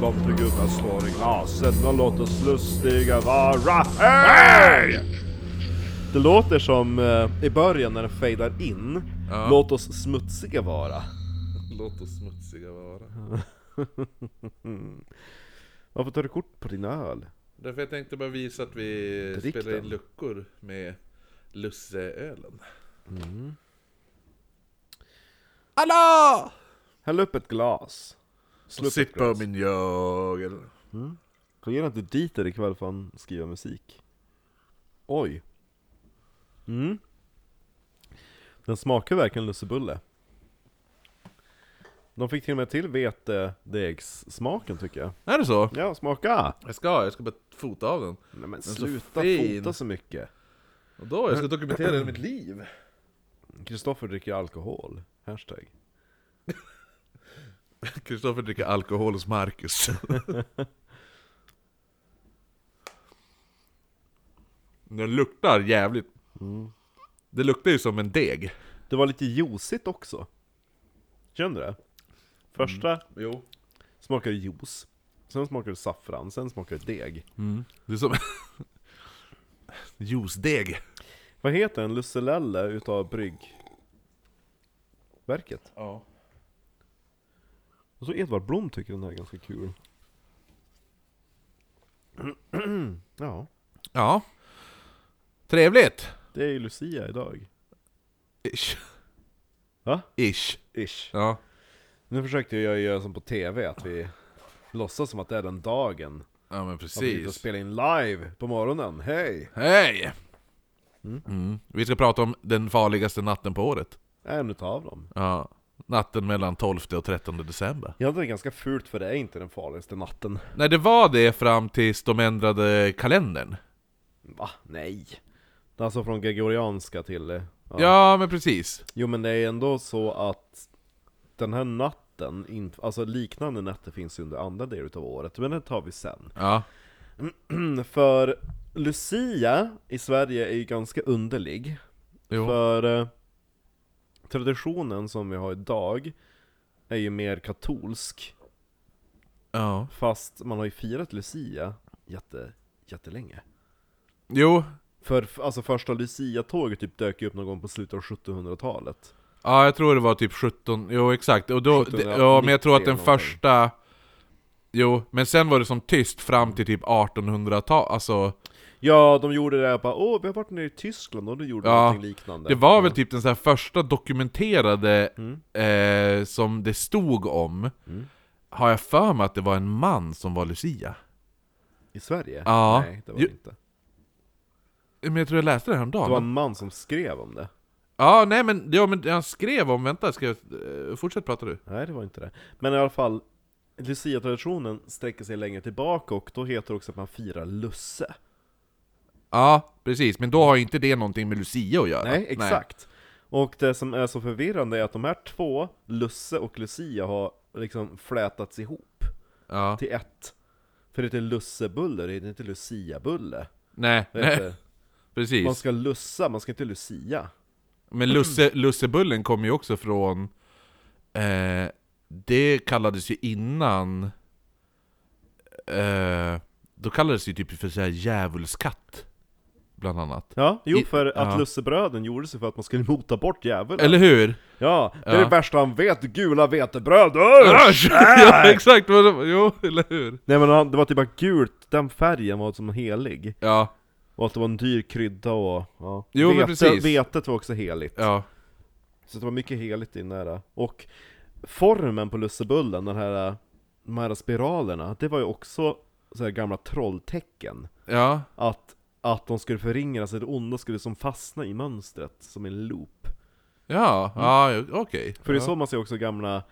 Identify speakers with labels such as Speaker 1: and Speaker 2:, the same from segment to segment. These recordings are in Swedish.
Speaker 1: De tog upp att slår i glaset, de låter slustiga vara. Hej! Det låter som eh, i början när den fejdar in.
Speaker 2: Ja.
Speaker 1: Låt oss smutsiga vara.
Speaker 2: Låt oss smutsiga vara.
Speaker 1: Varför tar du kort på din öl?
Speaker 2: Därför jag tänkte bara visa att vi
Speaker 1: Drick
Speaker 2: spelar in
Speaker 1: den.
Speaker 2: luckor med lusseölen. Hallå!
Speaker 1: Häll upp ett glas. Slå upp ett
Speaker 2: Sippa
Speaker 1: glas.
Speaker 2: min jögel.
Speaker 1: Fungerar inte Dieter ikväll för han skriver musik? Oj. Mm. Den smakar verkligen lussebulle. De fick till och med till vetedegssmaken tycker jag.
Speaker 2: Är det så?
Speaker 1: Ja, smaka!
Speaker 2: Jag ska, jag ska bara fota av den.
Speaker 1: Nej men
Speaker 2: så
Speaker 1: sluta
Speaker 2: fin.
Speaker 1: fota så mycket.
Speaker 2: Och då, jag ska dokumentera hela mitt liv.
Speaker 1: Kristoffer dricker alkohol. Hashtag.
Speaker 2: Kristoffer dricker alkohol hos Marcus. Den luktar jävligt. Mm. Det luktar ju som en deg.
Speaker 1: Det var lite juicigt också. Känner du det? Första
Speaker 2: Jo.
Speaker 1: smakade juice. Sen smakade det saffran, sen smakade det deg.
Speaker 2: Mm. Det är som... Juicedeg.
Speaker 1: Vad heter en lusselelle utav bryggverket?
Speaker 2: Ja.
Speaker 1: Och så Edvard Blom tycker den här är ganska kul. ja,
Speaker 2: Ja. Trevligt.
Speaker 1: det är ju Lucia idag.
Speaker 2: Ish.
Speaker 1: Va?
Speaker 2: Ish.
Speaker 1: Ish.
Speaker 2: Ja.
Speaker 1: Nu försökte jag göra som på TV, att vi låtsas som att det är den dagen.
Speaker 2: Ja men
Speaker 1: Att vi sitter och
Speaker 2: precis.
Speaker 1: spelar in live på morgonen. Hej!
Speaker 2: Hej! Mm. Vi ska prata om den farligaste natten på året.
Speaker 1: En utav dem.
Speaker 2: Ja. Natten mellan 12 och 13 december.
Speaker 1: Jag det är ganska fult för det är inte den farligaste natten.
Speaker 2: Nej det var det fram tills de ändrade kalendern.
Speaker 1: Va? Nej! Det är Alltså från gregorianska till... eh,
Speaker 2: Ja, men precis.
Speaker 1: Jo men det är ändå så att den här natten, in, alltså liknande nätter finns ju under andra delar utav året, men det tar vi sen. Mm,
Speaker 2: Ja.
Speaker 1: För Lucia i Sverige är ju ganska underlig,
Speaker 2: Jo.
Speaker 1: för eh, traditionen som vi har idag är ju mer katolsk,
Speaker 2: Ja.
Speaker 1: fast man har ju firat Lucia jätte, jättelänge.
Speaker 2: Jo.
Speaker 1: För f- alltså första Lucia-tåget typ dök ju upp någon gång på slutet av 1700-talet.
Speaker 2: Ja, jag tror det var typ 17, jo exakt. Och då,
Speaker 1: 1790
Speaker 2: det- ja, men jag tror att den
Speaker 1: eller någonting.
Speaker 2: första... Jo, men sen var det som tyst fram till typ 1800-tal, alltså...
Speaker 1: Ja, de gjorde det här bara åh, vi har varit nere i Tyskland och de gjorde
Speaker 2: Ja,
Speaker 1: någonting liknande.
Speaker 2: Det var väl typ den så här första dokumenterade
Speaker 1: Mm.
Speaker 2: eh, som det stod om, har jag för mig att det var en man som var Lucia.
Speaker 1: I Sverige?
Speaker 2: Ja.
Speaker 1: Nej, det var
Speaker 2: Jo,
Speaker 1: det inte.
Speaker 2: Men jag tror jag läste det häromdagen.
Speaker 1: Det var en man som skrev om det.
Speaker 2: Ja, nej men, ja, men jag skrev om, vänta, ska jag, eh, fortsätt prata du.
Speaker 1: Nej, det var inte det. Men i alla fall, Lucia-traditionen sträcker sig längre tillbaka och då heter det också att man firar Lusse.
Speaker 2: Ja, precis, men då har ju inte det någonting med Lucia att göra.
Speaker 1: Nej, exakt. Och det som är så förvirrande är att de här två, Lusse och Lucia, har liksom flätats ihop
Speaker 2: Ja.
Speaker 1: till ett. För det heter lussebulle, det heter inte luciabulle.
Speaker 2: Nej,
Speaker 1: Det heter,
Speaker 2: nej, precis.
Speaker 1: Man ska lussa, man ska inte lucia.
Speaker 2: Men lusse, lussebullen kom ju också från... Eh, det kallades ju innan... Eh, då kallades det ju typ för så här djävulskatt. Bland annat.
Speaker 1: Ja, jo
Speaker 2: I-
Speaker 1: för att
Speaker 2: ja.
Speaker 1: lussebröden gjordes ju för att man skulle mota bort djävulen.
Speaker 2: Eller hur?
Speaker 1: Ja, det är
Speaker 2: Ja.
Speaker 1: det värsta han vet, gula vetebröd! Usch!
Speaker 2: ja, exakt! vad det var. Jo, eller hur?
Speaker 1: Nej men han, det var typ bara gult, den färgen var som helig.
Speaker 2: Ja,
Speaker 1: Och att det var en dyr krydda och... Ja.
Speaker 2: Jo, men
Speaker 1: Vete-
Speaker 2: precis.
Speaker 1: Vetet var också heligt.
Speaker 2: ja.
Speaker 1: Så det var mycket heligt i den där. Och formen på lussebullen, den här, de här spiralerna, det var ju också så här gamla trolltecken.
Speaker 2: Ja,
Speaker 1: Att, att de skulle förringra sig, det onda skulle som fastna i mönstret, som en loop.
Speaker 2: ja, ja okej.
Speaker 1: För det är
Speaker 2: ja.
Speaker 1: så man ser också gamla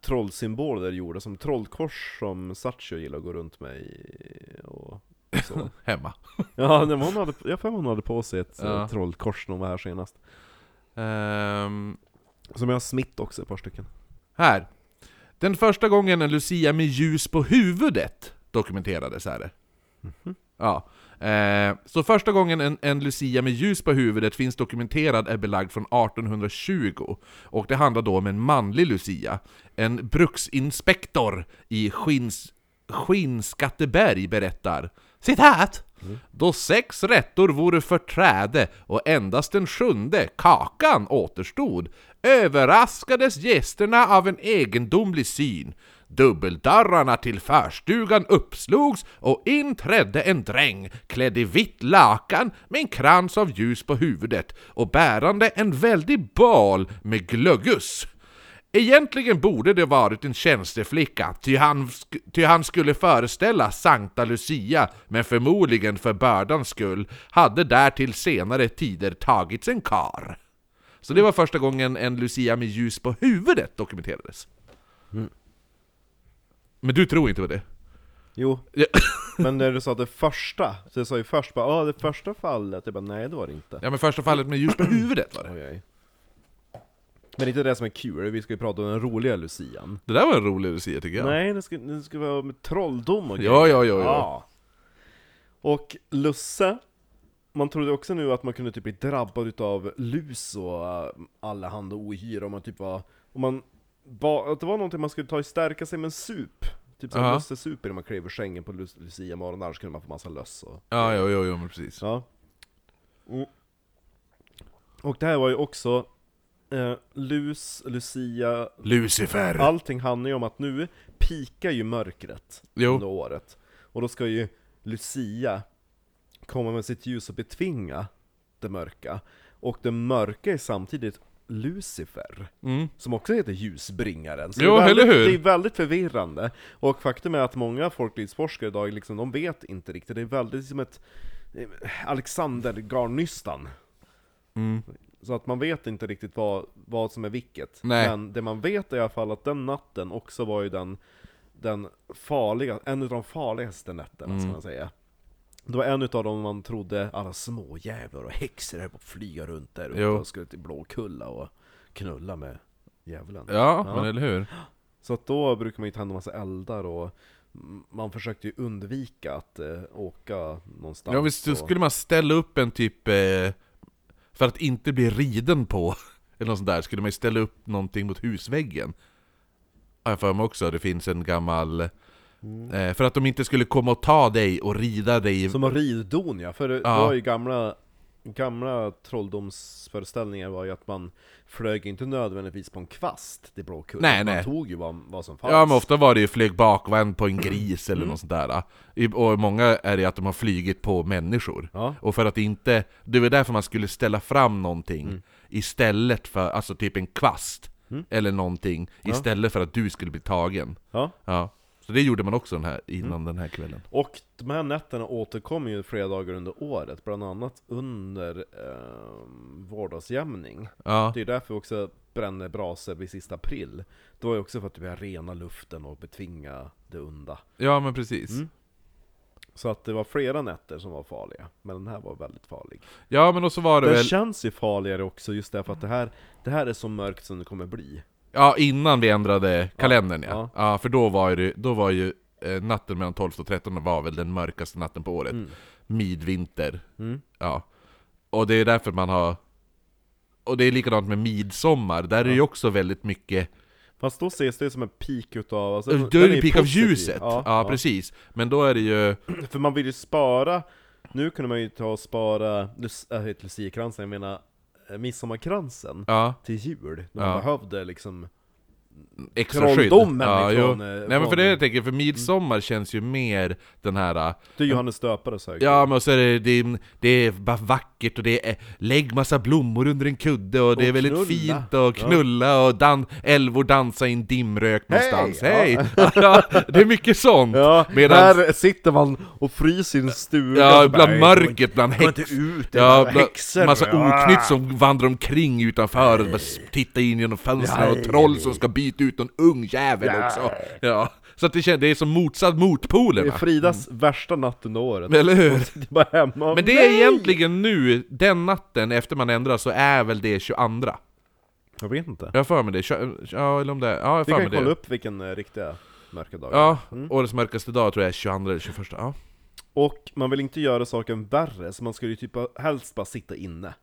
Speaker 1: trollsymboler gjorda, som trollkors som Satchio gillar att gå runt med i, och så.
Speaker 2: Hemma.
Speaker 1: Ja, nej, men hon hade, jag har för mig hon hade på sig ett
Speaker 2: Ja.
Speaker 1: eh, trollkors när hon var här senast.
Speaker 2: Ehm,
Speaker 1: Som jag har smitt också, ett par stycken.
Speaker 2: här. Den första gången en lucia med ljus på huvudet dokumenterades är det. Ja. Eh, så första gången en, en lucia med ljus på huvudet finns dokumenterad är belagd från 1820. Och det handlar då om en manlig lucia. En bruksinspektor i Skins, Skinskatteberg berättar Citat! Då sex rättor vore förträde och endast den sjunde, kakan, återstod överraskades gästerna av en egendomlig syn. Dubbeldörrarna till förstugan uppslogs och in trädde en dräng klädd i vitt lakan med en krans av ljus på huvudet och bärande en väldig bal med glöggus. Egentligen borde det varit en tjänsteflicka, ty han, sk- ty han skulle föreställa Sankta Lucia, men förmodligen för bördans skull hade därtill senare tider tagits en kar. Så det var första gången en Lucia med ljus på huvudet dokumenterades. Men du tror inte på det?
Speaker 1: Jo,
Speaker 2: Ja.
Speaker 1: men när du sa det första, så jag sa ju först bara ah, det första fallet, jag bara nej det var det inte.
Speaker 2: Ja men första fallet med ljus på huvudet var det.
Speaker 1: Oj, oj. Men det är inte det som är kul, vi ska ju prata om den roliga lucian.
Speaker 2: Det där var en rolig Lucia tycker jag.
Speaker 1: Nej, det ska, det ska vara med trolldom och
Speaker 2: Ja, ja, ja, ja.
Speaker 1: Och lusse, man trodde också nu att man kunde typ bli drabbad utav lus och äh, allehanda ohyra om man typ var, om man, ba, att det var någonting man skulle ta och stärka sig med en sup. Typ som
Speaker 2: Ja.
Speaker 1: lussesup innan man klev ur sängen på Lu- lucia morgon, annars kunde man få massa löss och
Speaker 2: Ja, ja, ja, ja men precis.
Speaker 1: Ja. Och det här var ju också eh, Lus, Lucia,
Speaker 2: Lucifer!
Speaker 1: allting handlar ju om att nu pikar ju mörkret
Speaker 2: Jo.
Speaker 1: under året. Och då ska ju Lucia komma med sitt ljus och betvinga det mörka. Och det mörka är samtidigt Lucifer,
Speaker 2: Mm.
Speaker 1: som också heter ljusbringaren. Så
Speaker 2: Jo,
Speaker 1: det, är väldigt,
Speaker 2: eller hur?
Speaker 1: det är väldigt förvirrande. Och faktum är att många folklivsforskare idag, liksom, de vet inte riktigt. Det är väldigt som ett eh, Alexander-garnnystan.
Speaker 2: Mm.
Speaker 1: Så att man vet inte riktigt vad, vad som är vilket.
Speaker 2: Nej.
Speaker 1: Men det man vet är i alla fall att den natten också var ju den, den farliga, en av de farligaste nätterna
Speaker 2: Mm.
Speaker 1: ska man säga. Det var en av dem man trodde alla småjävlar och häxor höll på att flyga runt där uppe
Speaker 2: Jo.
Speaker 1: och skulle till Blåkulla och knulla med djävulen.
Speaker 2: Ja,
Speaker 1: Ja.
Speaker 2: men eller hur?
Speaker 1: Så att då brukar man ju tända massa eldar och mm, man försökte ju undvika att eh, åka någonstans.
Speaker 2: Ja visst, då
Speaker 1: och-
Speaker 2: skulle man ställa upp en typ... Eh, för att inte bli riden på, eller något sånt där, skulle man ju ställa upp någonting mot husväggen. Har jag för mig också, det finns en gammal... Eh, för att de inte skulle komma och ta dig och rida dig...
Speaker 1: Mm. Som en riddon ja, för det
Speaker 2: Mm. Ja.
Speaker 1: var ju gamla, gamla trolldomsföreställningar var ju att man flög inte nödvändigtvis på en kvast till Blåkulla,
Speaker 2: Nej,
Speaker 1: man
Speaker 2: nej.
Speaker 1: tog ju vad, vad som fanns.
Speaker 2: Ja men ofta var det ju flög bakvänd på en gris eller något sånt där. I- Och många är det att de har flygit på människor.
Speaker 1: Ja.
Speaker 2: Och för att inte... Det var därför man skulle ställa fram någonting istället för, alltså typ en kvast. Eller någonting, istället för att du skulle bli tagen.
Speaker 1: Ja.
Speaker 2: Ja, så det gjorde man också den här, innan den här kvällen.
Speaker 1: Och de här nätterna återkommer ju flera dagar under året, bland annat under eh, vardagsjämning.
Speaker 2: Ja,
Speaker 1: Det är därför vi också bränner brasor vid sista april. Det var ju också för att du vill rena luften och betvinga det onda.
Speaker 2: ja men precis.
Speaker 1: Så att det var flera nätter som var farliga, men den här var väldigt farlig.
Speaker 2: Ja men och så var det
Speaker 1: Den
Speaker 2: väl,
Speaker 1: känns ju farligare också just därför att det här, det här är så mörkt som det kommer bli.
Speaker 2: ja innan vi ändrade kalendern ja.
Speaker 1: ja.
Speaker 2: ja. för då var ju, det- då var ju eh, natten mellan 12 och 13 var väl den mörkaste natten på året. Midvinter. Ja. Och det är därför man har... Och det är likadant med midsommar, där är det ju också väldigt mycket...
Speaker 1: Fast då ses det som en peak utav... Alltså,
Speaker 2: Då är
Speaker 1: den
Speaker 2: det peak av
Speaker 1: positiv.
Speaker 2: ljuset! Ja, precis. Men då är det ju...
Speaker 1: För man vill ju spara, nu kunde man ju ta och spara, Lus- äh, inte luciakransen, jag menar äh, midsommarkransen
Speaker 2: Ja,
Speaker 1: till jul, när man
Speaker 2: Ja.
Speaker 1: behövde liksom...
Speaker 2: extra skydd.
Speaker 1: Trolldomen
Speaker 2: ja, jo.
Speaker 1: ifrån, eh,
Speaker 2: Nej men
Speaker 1: från-
Speaker 2: för det jag tänker, för midsommar känns ju mer den här... eh,
Speaker 1: Det är Johannes döpares högtid.
Speaker 2: Ja men och så är det, det, är, det är bara vackert och det är lägg massa blommor under en kudde och det
Speaker 1: Och
Speaker 2: är väldigt
Speaker 1: knulla.
Speaker 2: fint och knulla och dan, älvor dansa i en dimrök
Speaker 1: Hej!
Speaker 2: någonstans.
Speaker 1: Ja.
Speaker 2: Hej! Ja. det är mycket sånt!
Speaker 1: Ja,
Speaker 2: Medan-
Speaker 1: här sitter man och fryser i en stuga
Speaker 2: Ja,
Speaker 1: och bara,
Speaker 2: bland
Speaker 1: "Nej,
Speaker 2: mörkret, bland
Speaker 1: Gå inte
Speaker 2: häx...
Speaker 1: ut, det är
Speaker 2: Ja,
Speaker 1: bara
Speaker 2: bland
Speaker 1: häxor."
Speaker 2: massa
Speaker 1: Ah.
Speaker 2: oknytt som vandrar omkring utanför och bara s- tittar in genom fönstren och
Speaker 1: Nej.
Speaker 2: troll som ska byta ut någon ung jävel
Speaker 1: Nej.
Speaker 2: också. Ja, så att det, kän- det är som motsatt
Speaker 1: Det är
Speaker 2: motpolerna.
Speaker 1: Fridas värsta natt under året.
Speaker 2: Eller hur?
Speaker 1: Det är bara hemma och,
Speaker 2: Men det är
Speaker 1: "Nej!"
Speaker 2: egentligen nu, den natten efter man ändrar så är väl det 22?
Speaker 1: Jag vet inte.
Speaker 2: Jag har för mig det, Tjo- ja eller om det är, ja jag har
Speaker 1: Vi
Speaker 2: för
Speaker 1: kan
Speaker 2: mig
Speaker 1: kolla
Speaker 2: det.
Speaker 1: upp vilken eh, riktiga mörka dag
Speaker 2: Ja, årets mörkaste dag tror jag är 22 eller 21, ja.
Speaker 1: Och man vill inte göra saken värre, så man skulle ju typ helst bara sitta inne.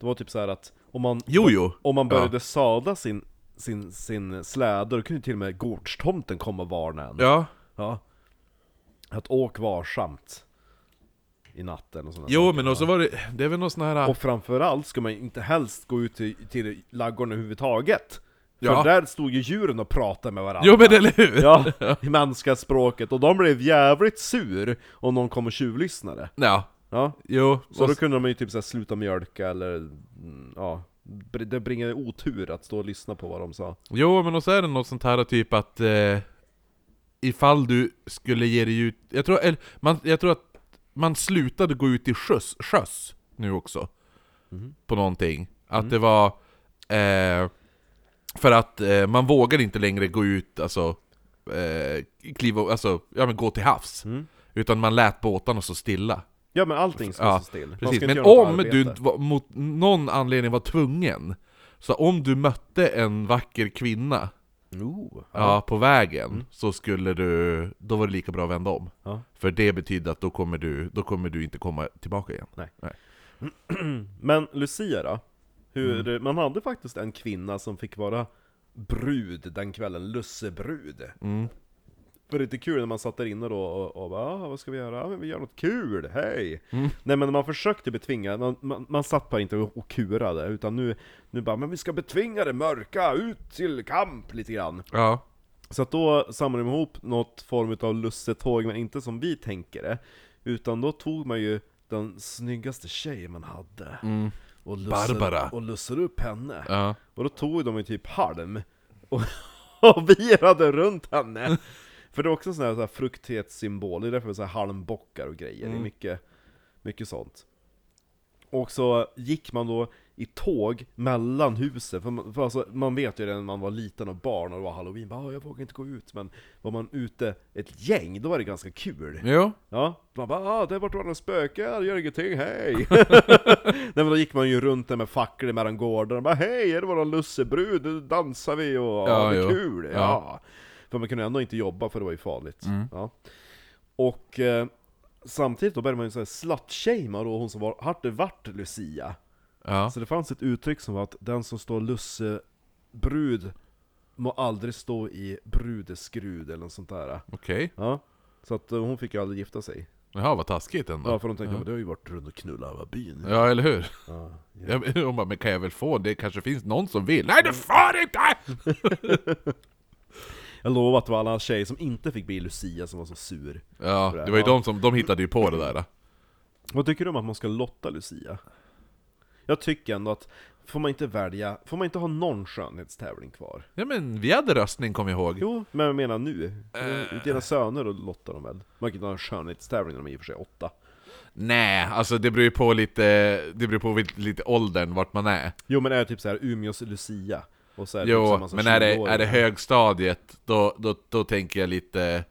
Speaker 1: Det var typ så här att om man,
Speaker 2: Jo, jo.
Speaker 1: om man började sadla sin, sin, sin släde, då kunde ju till och med gårdstomten komma och varna en.
Speaker 2: Ja.
Speaker 1: Ja. Att åk varsamt i natten och sådana
Speaker 2: Jo,
Speaker 1: saker.
Speaker 2: men och så var det, det är väl någon sån här...
Speaker 1: Och framförallt ska man ju inte helst gå ut till, till laggården överhuvudtaget. För
Speaker 2: Ja.
Speaker 1: där stod ju djuren och pratade med varandra.
Speaker 2: Jo men eller hur!
Speaker 1: Ja, i manskaspråket. Och de blev jävligt sur om någon kom och tjuvlyssnade.
Speaker 2: Ja,
Speaker 1: Ja.
Speaker 2: jo.
Speaker 1: Så
Speaker 2: och-
Speaker 1: då kunde de ju typ så här sluta mjölka eller, mm, ja. br- Det bringade otur att stå och lyssna på vad de sa.
Speaker 2: Jo, men och så är det något sånt här typ att eh, ifall du skulle ge dig ut... Jag tror, eller, man, jag tror att man slutade gå ut i sjöss, sjöss nu också.
Speaker 1: Mhm.
Speaker 2: På någonting. Att
Speaker 1: Mm.
Speaker 2: det var... Eh, för att eh, man vågar inte längre gå ut, alltså... Eh, kliva, alltså, ja men gå till havs.
Speaker 1: Mm.
Speaker 2: Utan man lät båtarna stå stilla.
Speaker 1: Ja men allting ska
Speaker 2: Ja,
Speaker 1: stå still. Man
Speaker 2: Precis,
Speaker 1: ska
Speaker 2: men
Speaker 1: inte göra något
Speaker 2: om
Speaker 1: arbete.
Speaker 2: du var, mot någon anledning var tvungen Så om du mötte en vacker kvinna
Speaker 1: Oh,
Speaker 2: ja. på vägen Så skulle du, då var det lika bra att vända om
Speaker 1: Mm. Ja.
Speaker 2: För det betyder att då kommer du, då kommer du inte komma tillbaka igen
Speaker 1: Nej. Men Lucia då? Hur, Man hade faktiskt en kvinna som fick vara brud den kvällen, lussebrud. För det är lite kul när man satt där inne då och, och bara ah, vad ska vi göra? Ja, men vi gör något kul, hej! Nej men man försökte betvinga, man, man, man satt bara inte och och kurade, utan nu, nu bara men vi ska betvinga det mörka, ut till kamp lite grann.
Speaker 2: Ja,
Speaker 1: Så att då samlade de ihop något form av lussetåg, men inte som vi tänker det. Utan då tog man ju den snyggaste tjejen man hade. Och
Speaker 2: Barbara.
Speaker 1: Och lussade upp henne.
Speaker 2: ja,
Speaker 1: Och då tog de ju typ halm. Och, och virade runt henne. För det är också en sån här, så här fruktighetssymbol, det är därför det är så här halmbockar och grejer. Det är mycket, mycket sånt. Och så gick man då i tåg mellan husen, för, man, för alltså, man vet ju det när man var liten och barn och det var halloween, bara, "Ah, jag vågar inte gå ut, men var man ute ett gäng, då var det ganska kul.
Speaker 2: jo,
Speaker 1: Ja, man bara ah, där borta var några spöken, gör ingenting, hej! Nej men då gick man ju runt där med facklor mellan gårdarna, bara hej, det var någon lussebrud, nu dansar vi och ja,
Speaker 2: Ja,
Speaker 1: det är
Speaker 2: jo.
Speaker 1: kul! Ja.
Speaker 2: Ja. Mm.
Speaker 1: För man kunde ändå inte jobba för det var ju farligt. Ja. Och eh, samtidigt då började man ju såhär slutshamea då hon som var, hade varit Lucia.
Speaker 2: ja,
Speaker 1: Så det fanns ett uttryck som var att den som står lussebrud må aldrig stå i brudeskrud eller något sånt där.
Speaker 2: okej
Speaker 1: Ja. Så att eh, hon fick ju aldrig gifta sig.
Speaker 2: Jaha vad taskigt ändå
Speaker 1: Ja, för de tänkte ja. du har ju varit runt och knullat över byn.
Speaker 2: Ja, eller hur? Ja. men- hon bara, men kan jag väl få? Det kanske finns någon som vill? Nej, det får inte!
Speaker 1: Jag lovar att det var alla tjejer som inte fick bli Lucia som var så sur.
Speaker 2: Ja, det var ju
Speaker 1: Ja.
Speaker 2: de som, de hittade ju på det där
Speaker 1: Vad tycker du om att man ska lotta Lucia? Jag tycker ändå att, får man inte välja, får man inte ha någon skönhetstävling kvar?
Speaker 2: Ja men vi hade röstning kom jag ihåg
Speaker 1: Jo, men jag menar nu.
Speaker 2: Eh.
Speaker 1: Dina söner och lottar de väl? Man kan inte ha en skönhetstävling när de är i och för sig åtta.
Speaker 2: Nej, alltså det beror ju på lite, det beror på vid- lite åldern, vart man är.
Speaker 1: Jo men är det typ så här Umeås Lucia? Och så är det typ
Speaker 2: Jo,
Speaker 1: samma som
Speaker 2: men är det,
Speaker 1: 20-åringar.
Speaker 2: är det högstadiet, då, då, då tänker jag lite...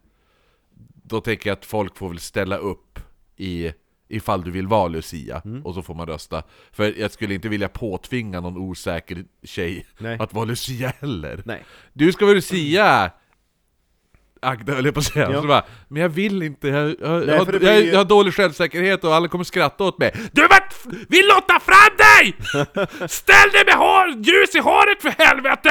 Speaker 2: Då tänker jag att folk får väl ställa upp i, ifall du vill vara Lucia,
Speaker 1: Mm.
Speaker 2: och så får man rösta. För jag skulle inte vilja påtvinga någon osäker tjej
Speaker 1: Nej.
Speaker 2: att vara Lucia heller.
Speaker 1: Nej.
Speaker 2: Du ska vara Lucia! Agda höll jag på att säga,
Speaker 1: Ja.
Speaker 2: så bara, men jag vill inte, jag, jag, jag,
Speaker 1: för det
Speaker 2: har,
Speaker 1: blir
Speaker 2: jag,
Speaker 1: ju-
Speaker 2: jag har dålig självsäkerhet och alla kommer skratta åt mig Du vart, vi lottar fram dig! Ställ dig med hår, ljus i håret för helvete!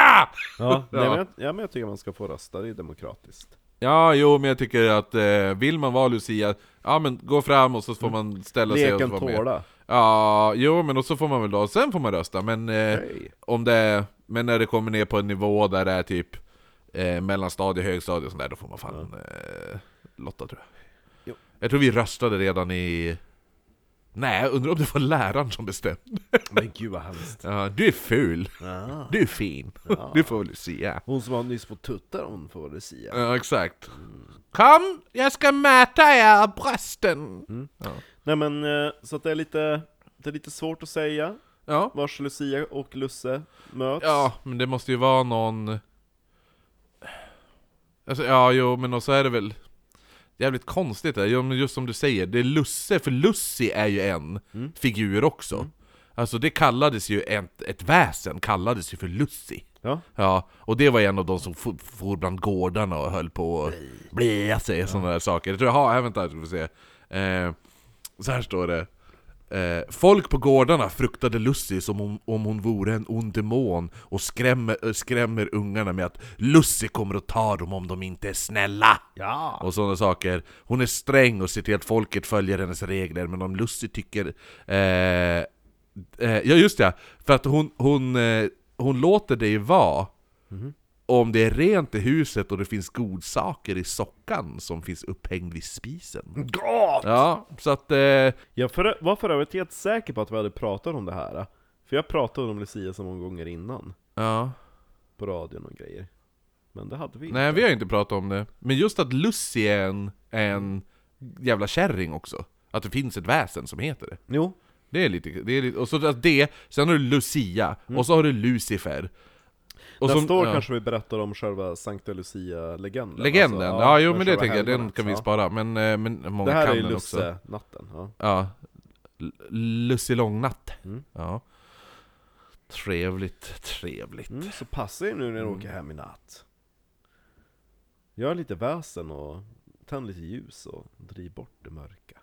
Speaker 1: Ja, nej,
Speaker 2: Ja.
Speaker 1: men jag, ja, men jag tycker man ska få rösta, det är demokratiskt.
Speaker 2: Ja, jo men jag tycker att eh, vill man vara Lucia, ja men gå fram och så får man ställa sig och så
Speaker 1: Leken
Speaker 2: vara med.
Speaker 1: tåla.
Speaker 2: Ja, jo men och så får man väl då, sen får man rösta men eh,
Speaker 1: Hej.
Speaker 2: om det är, men när det kommer ner på en nivå där det är typ eh, mellanstadie, högstadie och sånt där, då får man fan eh, lotta tror jag.
Speaker 1: Jo.
Speaker 2: Jag tror vi röstade redan i... Nej, jag undrar om det var läraren som bestämde.
Speaker 1: Men gud vad hemskt.
Speaker 2: Ja, du är ful, du är fin, du får väl se.
Speaker 1: Hon som har nyss på tuttar, hon får vara Lucia.
Speaker 2: Ja, exakt. Kom, jag ska mäta er brösten! Ja.
Speaker 1: Nej men, eh, så att det är lite, det är lite svårt att säga
Speaker 2: ja.
Speaker 1: vars Lucia och Lusse möts.
Speaker 2: Ja, men det måste ju vara någon... Alltså, ja, jo, men och så är det väl... Jävligt konstigt det Jo, men just som du säger, det är Lusse, för Lussi är ju en figur också. Alltså det kallades ju, ett, ett väsen kallades ju för Lussi.
Speaker 1: Ja.
Speaker 2: Ja, och det var en av de som for, for bland gårdarna och höll på och blia sig och sådana där saker. Jag tror, jaha, här vänta, jag ska få se. Eh, så här står det. Eh, folk på gårdarna fruktade Lussi som om, om hon vore en ond demon och skrämmer, eh, skrämmer ungarna med att Lussi kommer att ta dem om de inte är snälla!
Speaker 1: Ja!
Speaker 2: Och sådana saker. Hon är sträng och ser till att folket följer hennes regler, men om Lussi tycker... Eh, eh, ja just det, för att hon, hon, eh, hon låter dig vara om det är rent i huset och det finns godsaker i sockan som finns upphängd vid spisen.
Speaker 1: Gott!
Speaker 2: Ja, så att... Eh,
Speaker 1: Jag för, var för övrigt helt säker på att vi hade pratat om det här. För jag pratade om Lucia så många gånger innan.
Speaker 2: ja.
Speaker 1: På radion och grejer. Men det hade vi inte.
Speaker 2: Nej, vi har ju inte pratat om det. Men just att Lucy är en, en jävla kärring också. Att det finns ett väsen som heter det.
Speaker 1: Jo.
Speaker 2: Det är lite... Det är lite och så att det, sen har du Lucia, och så har du Lucifer. Och
Speaker 1: Nästa
Speaker 2: så-
Speaker 1: år
Speaker 2: ja.
Speaker 1: kanske vi berättar om själva Sankta Lucia-legenden.
Speaker 2: Legenden,
Speaker 1: Alltså,
Speaker 2: ja, jo
Speaker 1: med
Speaker 2: men det
Speaker 1: själva
Speaker 2: tänker jag, den
Speaker 1: helgonet,
Speaker 2: kan vi
Speaker 1: ja.
Speaker 2: spara. Men, eh, men många
Speaker 1: Det här
Speaker 2: kan
Speaker 1: är ju
Speaker 2: den också.
Speaker 1: Lusse-natten. Ja.
Speaker 2: Ja. L- Lusselångnatt.
Speaker 1: Mm.
Speaker 2: Ja. Trevligt, trevligt.
Speaker 1: Mm, så passa er nu när ni åker hem i natt. Gör lite väsen och tänd lite ljus och driv bort det mörka.